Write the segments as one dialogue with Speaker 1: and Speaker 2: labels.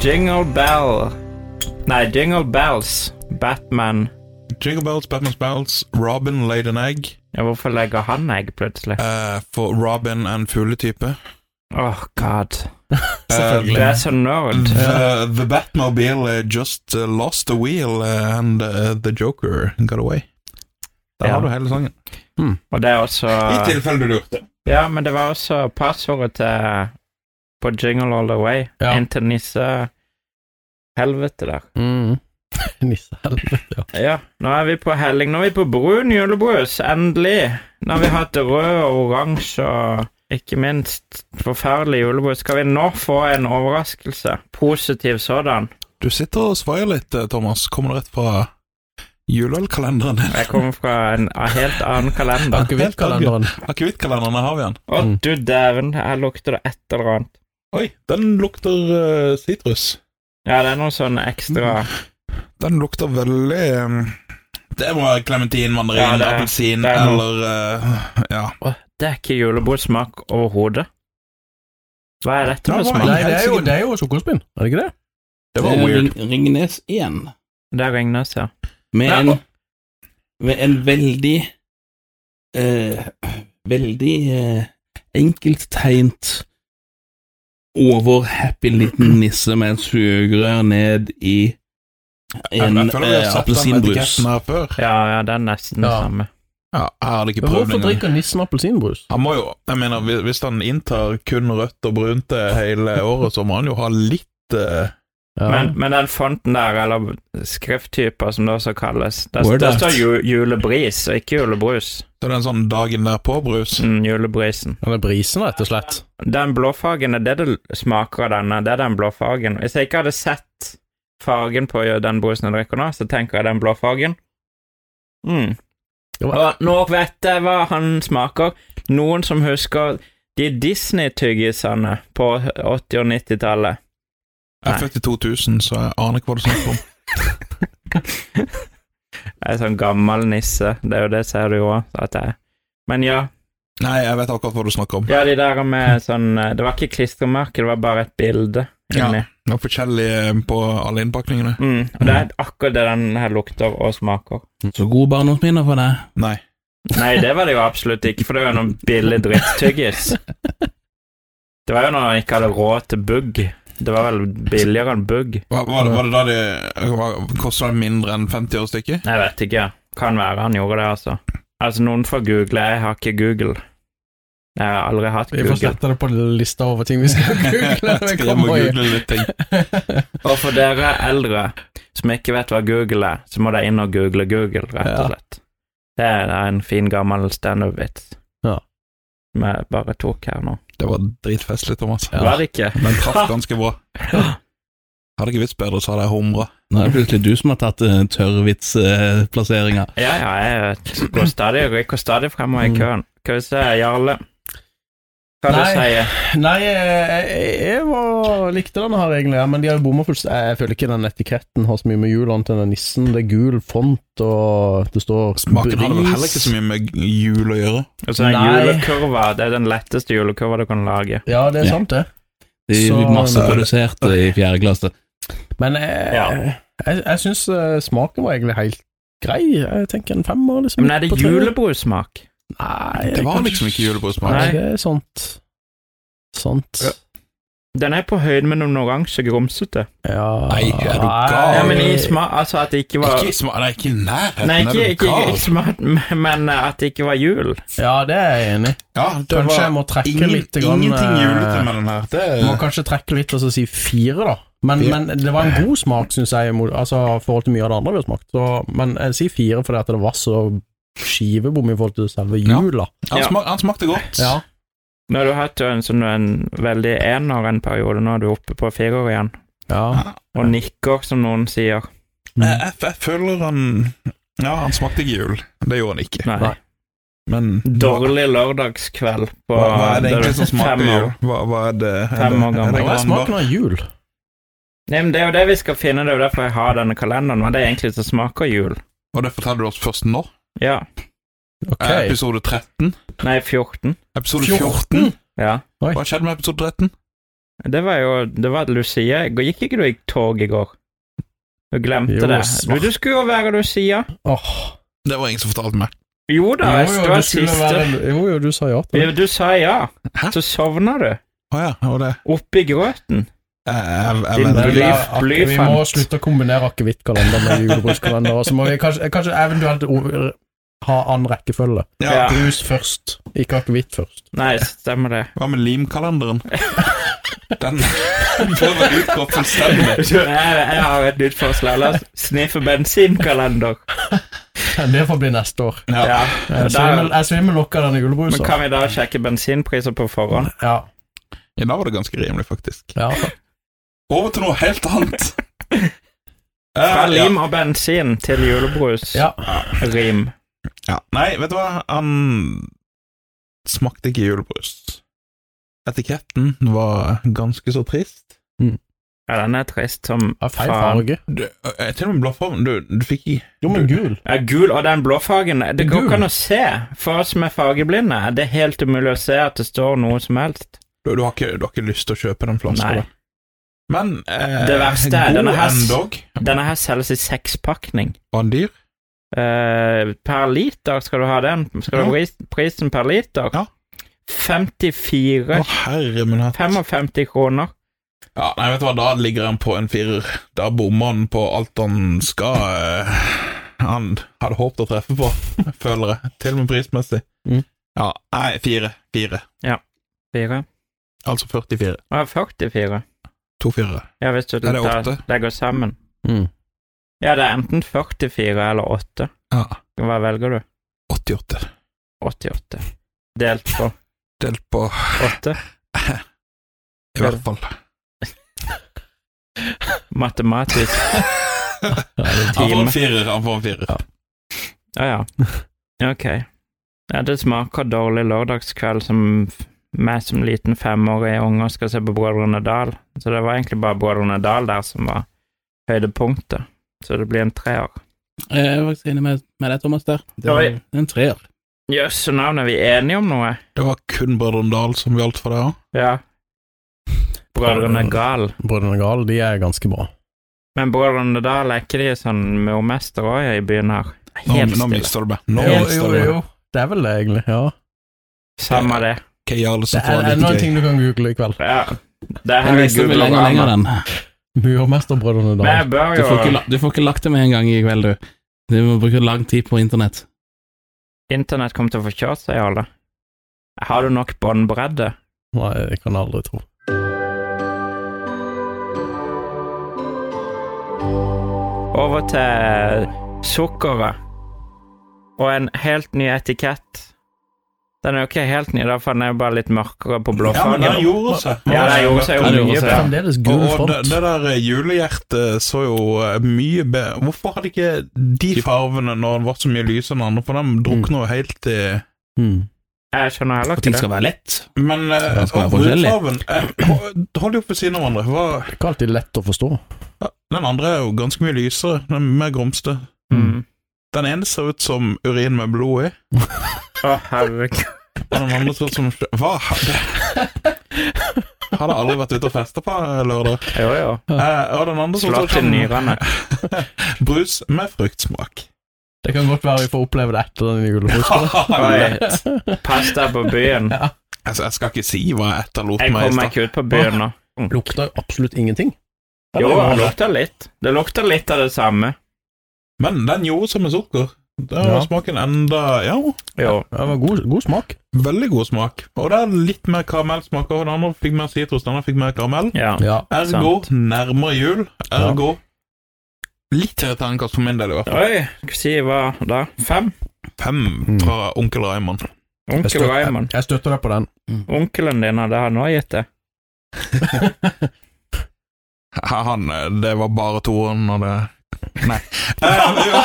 Speaker 1: Jingle Bell Nei, Jingle Bells. Batman.
Speaker 2: Jingle Bells, Batman's Bells, Robin laid an egg.
Speaker 1: Ja, hvorfor legger han egg plutselig?
Speaker 2: eh, for Robin er en fugletype.
Speaker 1: Oh god.
Speaker 2: Selvfølgelig.
Speaker 1: Det er så nerd.
Speaker 2: The, the Batmobile eh, just eh, lost the wheel, eh, and eh, the Joker got away. Der
Speaker 1: Ja.
Speaker 2: har du hele sangen.
Speaker 1: Og det er også
Speaker 2: I tilfelle du lurte.
Speaker 1: Ja, men det var også passordet til på Jingle All The Way.
Speaker 3: Ja.
Speaker 1: Inn til nisse... Helvete der.
Speaker 3: Mm. Nissehelvete, ja.
Speaker 1: Ja, nå er vi på helling. Nå er vi på brun julebrus, endelig. Nå har vi hatt rød og oransje og ikke minst forferdelig julebrus. Skal vi nå få en overraskelse? Positiv sådan.
Speaker 2: Du sitter og svaier litt, eh, Thomas. Kommer det rett fra juleølkalenderen din?
Speaker 1: Jeg kommer fra en a- helt annen kalender.
Speaker 3: Akevittkalenderen.
Speaker 2: Akevittkalenderen, her har vi den.
Speaker 1: Å,
Speaker 3: Mm.
Speaker 1: du dæven, her lukter det et eller annet.
Speaker 2: Oi, den lukter eh, sitrus.
Speaker 1: Ja, det er noe sånn ekstra
Speaker 2: Den lukter veldig eh, Det må være klementin, mandarin,
Speaker 1: Ja, det er-
Speaker 2: appelsin
Speaker 1: det er noe.
Speaker 2: eller eh, Ja.
Speaker 1: Å, Det er ikke julebrussmak overhodet. Hva er dette
Speaker 2: Nå
Speaker 1: for
Speaker 2: var
Speaker 1: smak?
Speaker 3: Nei, det er jo, det er jo sjokospinn, er det ikke det?
Speaker 2: Det var weird.
Speaker 4: Eh, Ring- Ringnes 1.
Speaker 1: Det er Ringnes, ja.
Speaker 4: Med
Speaker 1: Ja,
Speaker 4: en,
Speaker 1: og-
Speaker 4: med en veldig eh, Veldig eh, enkelttegnt overhappy liten nisse med et sugerør ned i en
Speaker 2: jeg føler vi har
Speaker 4: eh,
Speaker 2: satt den
Speaker 4: appelsinbrus.
Speaker 2: etiketten her før.
Speaker 1: Ja, ja, det er nesten det
Speaker 3: Ja.
Speaker 1: samme.
Speaker 2: Ja, jeg hadde ikke
Speaker 3: Men
Speaker 2: prøvd
Speaker 3: hvorfor
Speaker 2: engang.
Speaker 3: drikker nissen appelsinbrus?
Speaker 2: Han må jo, jeg mener, hvis- hvis han inntar kun rødt og brunt det hele året, så må han jo ha litt eh,
Speaker 3: Ja.
Speaker 1: Men, men den fonten der, eller skrifttyper som det også kalles, der,
Speaker 4: Word
Speaker 1: der
Speaker 4: art.
Speaker 1: står ju, julebris, og ikke julebrus.
Speaker 2: Så det er en sånn dagen derpå-brus.
Speaker 1: Mm, julebrisen.
Speaker 3: Den er brisen, rett og slett.
Speaker 1: Den blåfargen er det det smaker av denne. Det er den blåfargen. Hvis jeg ikke hadde sett fargen på den brusen jeg drikker nå, så tenker jeg den blåfargen. Mm.
Speaker 3: Ja, men-
Speaker 1: Og nå vet jeg hva han smaker. Noen som husker de Disney-tyggisene på 80- og 90-tallet.
Speaker 2: Jeg er født i 2000, så jeg aner ikke hva du snakker om.
Speaker 1: Jeg er sånn gammel nisse. Det er jo det ser du jo òg at jeg er. Men ja.
Speaker 2: Nei, jeg vet akkurat hva du snakker om.
Speaker 1: Ja, de der med sånn eh, Det var ikke klistremerke, det var bare et bilde inni.
Speaker 2: Det er forskjellig eh, på alle innpakningene.
Speaker 1: Mm. Og det er akkurat det den her lukter og smaker.
Speaker 4: Så gode barndomsminner for deg.
Speaker 2: Nei.
Speaker 1: Nei, det var det jo absolutt ikke, for det var jo noen billig drittyggis. Det var jo når han ikke hadde råd til bugg. Det var vel billigere enn bugg.
Speaker 2: Var, var, det, var det da de kosta mindre enn 50 år stykket?
Speaker 1: Jeg vet ikke. Kan være han gjorde det, altså. Altså, noen får google. Jeg har ikke Google. Jeg har aldri hatt
Speaker 3: Vi får
Speaker 1: Google.
Speaker 3: slette det på lista over ting vi skal google. når vi
Speaker 2: Skal hjem og
Speaker 3: kommer i-
Speaker 2: google litt ting.
Speaker 1: Og for dere eldre som ikke vet hva Google er, så må dere inn og google Google, rett
Speaker 3: Ja.
Speaker 1: og slett. Det er en fin, gammel standup-vits
Speaker 3: Ja.
Speaker 1: som jeg bare tok her nå.
Speaker 2: Det var dritfestlig, Thomas.
Speaker 1: Var det ikke?
Speaker 2: Men traff ganske bra. Hadde ikke visst bedre, så hadde jeg humra.
Speaker 4: Nå er det plutselig du som har tatt uh, tørrvitsplasseringa.
Speaker 1: Ja, ja, jeg går stadig, rykker stadig fremover
Speaker 2: Mm.
Speaker 1: i køen. Skal vi se, Jarle. Hva du
Speaker 3: Nei.
Speaker 1: sier
Speaker 3: Nei, jeg, jeg- jeg var, likte denne her egentlig, ja, men de har jo bomma fullstendig. Jeg- Jeg føler ikke den etiketten har så mye med hjulene til den nissen. Det er gul font, og det står
Speaker 2: Smaken hadde vel heller ikke så mye med jul å gjøre.
Speaker 1: Og så er
Speaker 3: Nei.
Speaker 1: julekurva. Det er den letteste julekurva du kan lage.
Speaker 3: Ja, det er
Speaker 4: Ja.
Speaker 3: sant, det.
Speaker 4: De
Speaker 3: Så-
Speaker 4: masseproduserte i fjerde klasse.
Speaker 3: Men jeg,
Speaker 1: Ja.
Speaker 3: jeg, jeg syns eh, smaken var egentlig helt grei. Jeg tenker en femmer, liksom.
Speaker 1: Men er det
Speaker 3: på tre.
Speaker 1: julebrussmak?
Speaker 3: Nei,
Speaker 2: Det var
Speaker 3: kanskje-
Speaker 2: liksom ikke julebordsmak.
Speaker 3: Nei,
Speaker 1: Nei.
Speaker 3: det er sant. Sant.
Speaker 1: Den er på høyde med noen oransje grumsete.
Speaker 3: Ja
Speaker 2: Nei, er du
Speaker 3: Nei.
Speaker 2: gal?
Speaker 1: Ja, men i sma... Altså, at det ikke var
Speaker 2: Ikke smak, nei, ikke i nærheten.
Speaker 1: Nei,
Speaker 2: er
Speaker 1: ikke,
Speaker 2: du
Speaker 1: ikke,
Speaker 2: gal?
Speaker 1: ikke smart, men eh, at det ikke var jul.
Speaker 3: Ja, det er jeg enig i.
Speaker 2: Ja, det
Speaker 3: Kanskje
Speaker 2: var
Speaker 3: jeg må trekke
Speaker 2: ingen,
Speaker 3: litt grann,
Speaker 2: Ingenting
Speaker 3: eh,
Speaker 2: julete med den her. Det,
Speaker 3: Må kanskje trekke litt og så si fire, da. Men,
Speaker 2: Fire.
Speaker 3: men det var en god smak, syns jeg, imot- altså i forhold til mye av det andre vi har smakt. Så, men jeg sier fire fordi at det var så skivebom i forhold til selve
Speaker 2: Ja.
Speaker 3: jula.
Speaker 2: han,
Speaker 1: Ja.
Speaker 2: smak, han smakte godt.
Speaker 3: Ja.
Speaker 1: Nå har du hatt jo en sånn en veldig ener en periode, nå er du oppe på firer igjen.
Speaker 3: ja.
Speaker 1: Og nikker, som noen sier. Mm.
Speaker 2: Jeg, jeg, jeg føler han Ja, han smakte ikke jul. Det gjorde han ikke.
Speaker 1: Nei.
Speaker 3: Nei.
Speaker 2: Men
Speaker 1: Dårlig lørdagskveld på
Speaker 2: hva, hva er det egentlig som smaker
Speaker 1: fem år.
Speaker 2: jul? Hva, hva er det? er
Speaker 1: Fem
Speaker 2: det-
Speaker 1: år
Speaker 2: er det
Speaker 1: gammel.
Speaker 3: Hva er
Speaker 2: granbar?
Speaker 3: smaken av jul?
Speaker 1: Nei, men Det er jo det vi skal finne, det er jo derfor jeg har denne kalenderen. Hva det er egentlig som smaker jul?
Speaker 2: Og det forteller du oss først nå.
Speaker 1: Ja.
Speaker 3: Ok.
Speaker 2: Eh, Episode 13.
Speaker 1: Nei, 14.
Speaker 2: Episode 14.
Speaker 1: Ja.
Speaker 2: Hva skjedde med episode 13?
Speaker 1: Det var jo Det var Lucia. Gikk ikke du i tog i går? Du glemte
Speaker 3: Jo,
Speaker 1: det. Du,
Speaker 3: svart.
Speaker 1: du skulle jo være Lucia.
Speaker 3: Åh.
Speaker 2: Det var ingen som fortalte meg.
Speaker 1: Jo da, jeg
Speaker 3: jo,
Speaker 1: det var
Speaker 3: du skulle
Speaker 1: siste.
Speaker 3: være- jo, jo, du sa ja til det.
Speaker 1: Ja, Du sa ja.
Speaker 2: Hæ?
Speaker 1: Så sovna du.
Speaker 2: Å ja, og det
Speaker 1: Oppi grøten.
Speaker 2: Jeg, jeg, jeg,
Speaker 1: Din
Speaker 2: vet
Speaker 3: Men
Speaker 2: ikke.
Speaker 1: bly-
Speaker 3: la- ak-
Speaker 1: bly
Speaker 3: vi
Speaker 1: fant.
Speaker 3: må slutte å kombinere akevittkalender med julebruskalender. Og så må vi kanskje, kanskje eventuelt o- ha annen rekkefølge.
Speaker 2: ja.
Speaker 1: Ja.
Speaker 3: Brus først, ikke akevitt først.
Speaker 1: Nei, stemmer det.
Speaker 2: Hva med limkalenderen? Den prøver ut hvor fullstendig
Speaker 1: Jeg, jeg har et utforslag. La oss sniffe bensinkalender.
Speaker 3: Det får bli neste år.
Speaker 2: ja.
Speaker 1: Ja.
Speaker 3: Jeg
Speaker 1: Der,
Speaker 3: svimmel, jeg svimmel nok av denne
Speaker 1: men
Speaker 3: julebrusen.
Speaker 1: kan vi da sjekke bensinpriser på forhånd?
Speaker 3: Ja.
Speaker 2: I dag var det ganske rimelig, faktisk.
Speaker 3: ja.
Speaker 2: Over til noe helt annet.
Speaker 1: Fra
Speaker 2: Eh, ja.
Speaker 1: lim og bensin til julebrus.
Speaker 3: Ja.
Speaker 1: Rim.
Speaker 2: Ja. Nei, vet du hva? Han smakte ikke julebrus. Etiketten var ganske så trist.
Speaker 1: Ja, den er trist som
Speaker 3: Ja, feil
Speaker 1: faen.
Speaker 3: farge.
Speaker 2: Du, eh, til og med blåfargen Du, du fikk ikke
Speaker 3: Jo, men gul.
Speaker 1: Ja, gul og den blåfargen Det går
Speaker 3: Gul.
Speaker 1: ikke an å se. For oss som er fargeblinde, er det helt umulig å se at det står noe som helst.
Speaker 2: Du, du, har, ikke, du har ikke lyst til å kjøpe den flaska?
Speaker 1: Nei.
Speaker 2: da. Men eh,
Speaker 1: Det verste er denne her-
Speaker 2: endog.
Speaker 1: Denne her selges i sekspakning.
Speaker 2: Var den dyr?
Speaker 1: Eh, per liter skal du ha den. Skal du ha
Speaker 2: Ja.
Speaker 1: pris- prisen per liter?
Speaker 2: Ja.
Speaker 1: 54
Speaker 2: Å, herre min hatt.
Speaker 1: 55 kroner.
Speaker 2: Ja, nei, vet du hva, da ligger han på en firer. Da bommer han på alt han skal eh, Han hadde håpet å treffe på, føler jeg. Til og med prismessig.
Speaker 3: Mm.
Speaker 2: Ja, nei, fire. Fire.
Speaker 1: Fire.
Speaker 2: Altså 44.
Speaker 1: Ja, 44.
Speaker 2: To firere.
Speaker 1: Ja, hvis du
Speaker 2: det
Speaker 1: tar-
Speaker 2: åtte?
Speaker 1: legger sammen.
Speaker 3: Mm.
Speaker 1: Ja, det er enten 44 eller 8.
Speaker 2: Ja.
Speaker 1: Hva velger du?
Speaker 2: 88.
Speaker 1: 88. Delt på
Speaker 2: Delt på
Speaker 1: 8.
Speaker 2: I hvert fall.
Speaker 1: Matematisk.
Speaker 2: Han får en firer. Han får en firer.
Speaker 1: Å ja. Ok. Ja, det smaker dårlig lørdagskveld som f- meg som liten femårig unge skal se på Brødrene Dal. Så det var egentlig bare Brødrene Dal der som var høydepunktet. Så det blir en treer.
Speaker 4: Jeg er faktisk enig med, med deg, Thomas, der. Det
Speaker 1: Oi.
Speaker 4: er en treer.
Speaker 1: Jøss, så navn er vi enige om noe?
Speaker 2: Det var kun Brødrene Dal som gjaldt for deg òg.
Speaker 1: Ja. Brødrene Gal.
Speaker 3: Brødrene Gal, de er ganske bra.
Speaker 1: Men Brødrene Dal, er ikke de sånn murmester òg i byen her?
Speaker 2: Nå,
Speaker 1: Helt
Speaker 2: nå
Speaker 1: stille.
Speaker 2: mister du meg. Nå
Speaker 1: Jo,
Speaker 2: mister du meg.
Speaker 3: Det er vel det, egentlig. Ja.
Speaker 1: Samme det.
Speaker 2: Hva gjør det
Speaker 3: Det
Speaker 2: som
Speaker 3: er
Speaker 2: får
Speaker 3: enda
Speaker 2: like
Speaker 3: en
Speaker 2: gøy?
Speaker 3: ting du kan google i kveld.
Speaker 1: Ja. Det her
Speaker 4: Jeg
Speaker 1: er
Speaker 4: visste det
Speaker 1: Google
Speaker 4: lenger og lenger,
Speaker 1: Rama.
Speaker 4: den.
Speaker 3: Murmesterbrødrene
Speaker 1: Men
Speaker 3: Dal.
Speaker 1: jeg bør
Speaker 4: Du får, ikke,
Speaker 1: jo
Speaker 4: la- du får ikke lagt det med en gang i kveld, du. Du må bruke lang tid på internett.
Speaker 1: Internett kommer til å få kjørt seg, alle. Har du nok båndbredde?
Speaker 3: Nei, det kan jeg aldri tro.
Speaker 1: Over til sukkeret. Og en helt ny etikett. Den er jo ikke helt ny, da, for den er jo bare litt mørkere på
Speaker 2: Ja, men
Speaker 1: blåfargen.
Speaker 2: den gjorde seg.
Speaker 1: Ja, den gjorde seg jo
Speaker 4: Den gjorde
Speaker 1: mye
Speaker 4: seg.
Speaker 1: bedre.
Speaker 3: Fremdeles gul
Speaker 2: Og, og det,
Speaker 3: front.
Speaker 2: det der eh, julehjertet så jo eh, mye bedre Hvorfor hadde ikke de farvene når den var så mye lysere enn andre? For de drukner jo helt i
Speaker 3: Mm.
Speaker 1: Jeg skjønner heller
Speaker 4: Og
Speaker 1: ikke
Speaker 4: ting
Speaker 1: det.
Speaker 4: skal være lett.
Speaker 2: Men eh,
Speaker 4: Den skal være
Speaker 2: og
Speaker 4: forskjellig.
Speaker 2: rødfarven eh, hold- Hold de opp ved siden av hverandre. Hva-
Speaker 3: Det er ikke alltid lett å forstå.
Speaker 2: Den andre er jo ganske mye lysere. Den er mer grumsete.
Speaker 1: Mm.
Speaker 2: Den ene ser ut som urin med blod i,
Speaker 1: Å, herregud.
Speaker 2: og den andre ser ut som Hva? Det- Har det aldri vært ute og festa på eh, lørdag?
Speaker 1: Jo, jo.
Speaker 2: Eh, og den andre ser ut
Speaker 1: Slått i
Speaker 2: som
Speaker 1: nyrene.
Speaker 2: brus med fruktsmak.
Speaker 3: Det kan godt være vi får oppleve det etter den julebrusen.
Speaker 1: Oi. Pass deg på byen.
Speaker 2: Altså, jeg skal ikke si hva jeg etterlot
Speaker 1: Jeg
Speaker 2: meg i
Speaker 1: kommer
Speaker 2: stad.
Speaker 1: ikke ut på byen nå.
Speaker 3: Lukter jo absolutt ingenting.
Speaker 1: Jo, det
Speaker 3: Eller-
Speaker 1: lukter litt. Det lukter litt av det samme.
Speaker 2: Men den gjorde seg med sukker. Der
Speaker 3: Ja.
Speaker 2: var smaken enda Ja,
Speaker 1: Jo.
Speaker 3: det var god, god smak.
Speaker 2: veldig god smak. Og det er litt mer karamellsmak. Og den andre fikk mer sitrus, den andre fikk mer karamell.
Speaker 1: Ja.
Speaker 3: Ja.
Speaker 2: Ergo nærmere jul. Ergo Litt høyere terningkast for min del, i hvert fall.
Speaker 1: Oi, skal vi si hva da? Fem?
Speaker 2: Fem fra onkel Raymond.
Speaker 3: Jeg
Speaker 1: Onkel
Speaker 3: støtter, jeg,
Speaker 1: Raymond.
Speaker 3: jeg støtter deg på den.
Speaker 1: Onkelen din hadde han nå gitt det.
Speaker 2: Han eh, Det var bare toeren og det Nei. Eh, jo.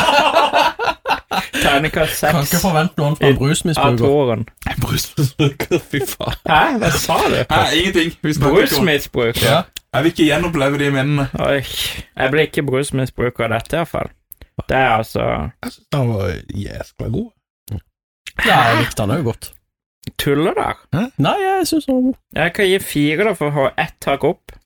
Speaker 1: Terningkast
Speaker 3: Kan ikke
Speaker 1: seks
Speaker 3: forvente noe annet fra
Speaker 1: I-
Speaker 3: en
Speaker 1: av
Speaker 3: brusmisbruker.
Speaker 1: toeren.
Speaker 2: Brusmisbruker, fy faen.
Speaker 1: Hæ? Hva sa du?
Speaker 2: Hæ, ingenting. Vi snakker ikke om
Speaker 1: Brusmisbruk?
Speaker 3: Ja.
Speaker 2: Jeg vil ikke gjenoppleve de minnene.
Speaker 1: Oi. Jeg blir ikke brusmisbruker av dette, iallfall. Det er altså
Speaker 2: Jeg syns den var jæskla god.
Speaker 3: Ja, jeg likte den òg godt.
Speaker 1: tuller der.
Speaker 3: Ah! Nei, jeg syns den var god.
Speaker 1: Jeg kan gi fire da, for å ha ett hakk opp.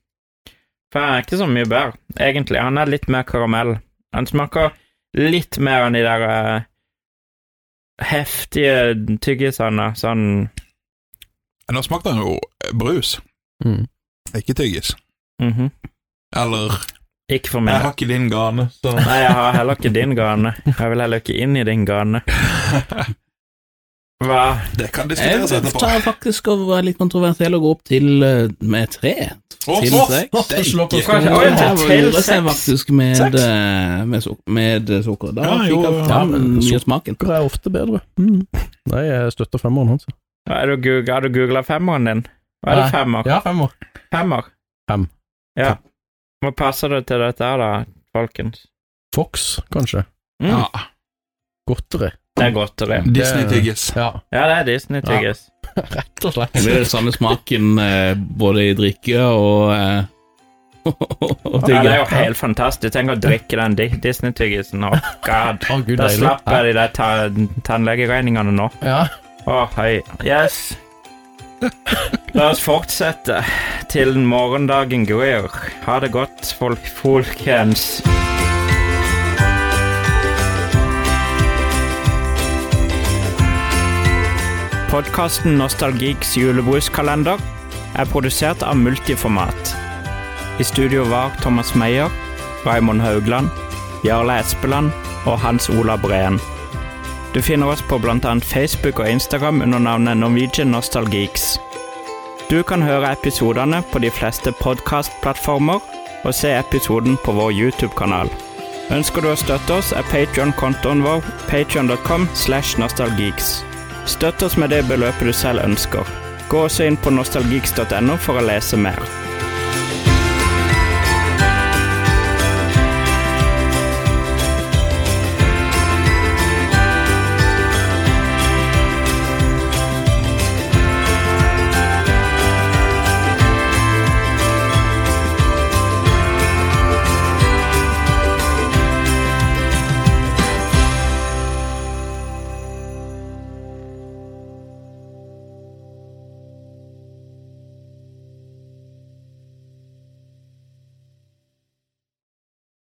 Speaker 1: For han er ikke så mye bedre, egentlig. Han er litt mer karamell. Han smaker litt mer enn de der eh, heftige tyggisene. Sånn
Speaker 2: Nå smakte den jo eh, brus,
Speaker 3: Mm.
Speaker 2: ikke tyggis.
Speaker 1: mhm.
Speaker 2: Eller
Speaker 1: Ikke for
Speaker 2: Jeg
Speaker 1: meg.
Speaker 2: har ikke din gane, så
Speaker 1: Nei, jeg har heller ikke din gane. Jeg vil heller ikke inn i din gane. Hva?
Speaker 2: det kan
Speaker 4: Jeg
Speaker 2: diskuteres etterpå.
Speaker 4: tar faktisk å være litt kontroversiell og gå opp til eh, med tre.
Speaker 2: Å,
Speaker 4: til
Speaker 2: å,
Speaker 4: seks.
Speaker 2: å, steike.
Speaker 1: Kanskje- Oi,
Speaker 4: Det her
Speaker 1: til
Speaker 4: gjorde seg
Speaker 1: seks.
Speaker 4: faktisk med,
Speaker 2: Seks?
Speaker 4: eh, med, suk med sukker. Da
Speaker 2: Ja, jo,
Speaker 4: fikk
Speaker 2: ja.
Speaker 4: jeg fram mye av smaken.
Speaker 3: Hva er ofte bedre? Nei, jeg støtter femmeren altså. hans.
Speaker 1: Hva er det du googlet? Har du googla femmeren din? Hva er det
Speaker 3: Nei.
Speaker 1: femmer?
Speaker 3: Ja, femmer.
Speaker 1: Femmer?
Speaker 3: Fem.
Speaker 1: Ja. Hva passer det til dette her, da, folkens?
Speaker 3: Fox, kanskje.
Speaker 1: Mm.
Speaker 2: Ja,
Speaker 3: Godteri.
Speaker 1: Det er godt å le.
Speaker 2: Disney-tyggis.
Speaker 3: Ja,
Speaker 1: Ja, det er Disney-tyggis.
Speaker 3: rett og slett.
Speaker 4: Det blir den samme smaken eh, både i drikke og eh, og
Speaker 1: Ja, det er jo
Speaker 4: digge.
Speaker 1: helt fantastisk. Tenk å drikke den Di- Disney-tyggisen. Å, god.
Speaker 3: Å, gud,
Speaker 1: Da
Speaker 3: deilig.
Speaker 1: slapp jeg de der ta tannlegeregningene nå.
Speaker 3: Ja.
Speaker 1: Å, hei. Yes. La oss fortsette til morgendagen gryr. Ha det godt, folk, folkens. Podkasten Nostalgiks julebruskalender er produsert av Multiformat. I studio var Thomas Meyer, Raymond Haugland, Jarle Espeland og Hans Ola Breen. Du finner oss på bl.a. Facebook og Instagram under navnet Norwegian Nostalgeeks. Du kan høre episodene på de fleste podkastplattformer og se episoden på vår YouTube-kanal. Ønsker du å støtte oss, er Patreon-kontoen vår patreon.com slash nostalgeeks. Støtt oss med det beløpet du selv ønsker. Gå også inn på nostalgeeks.no for å lese mer.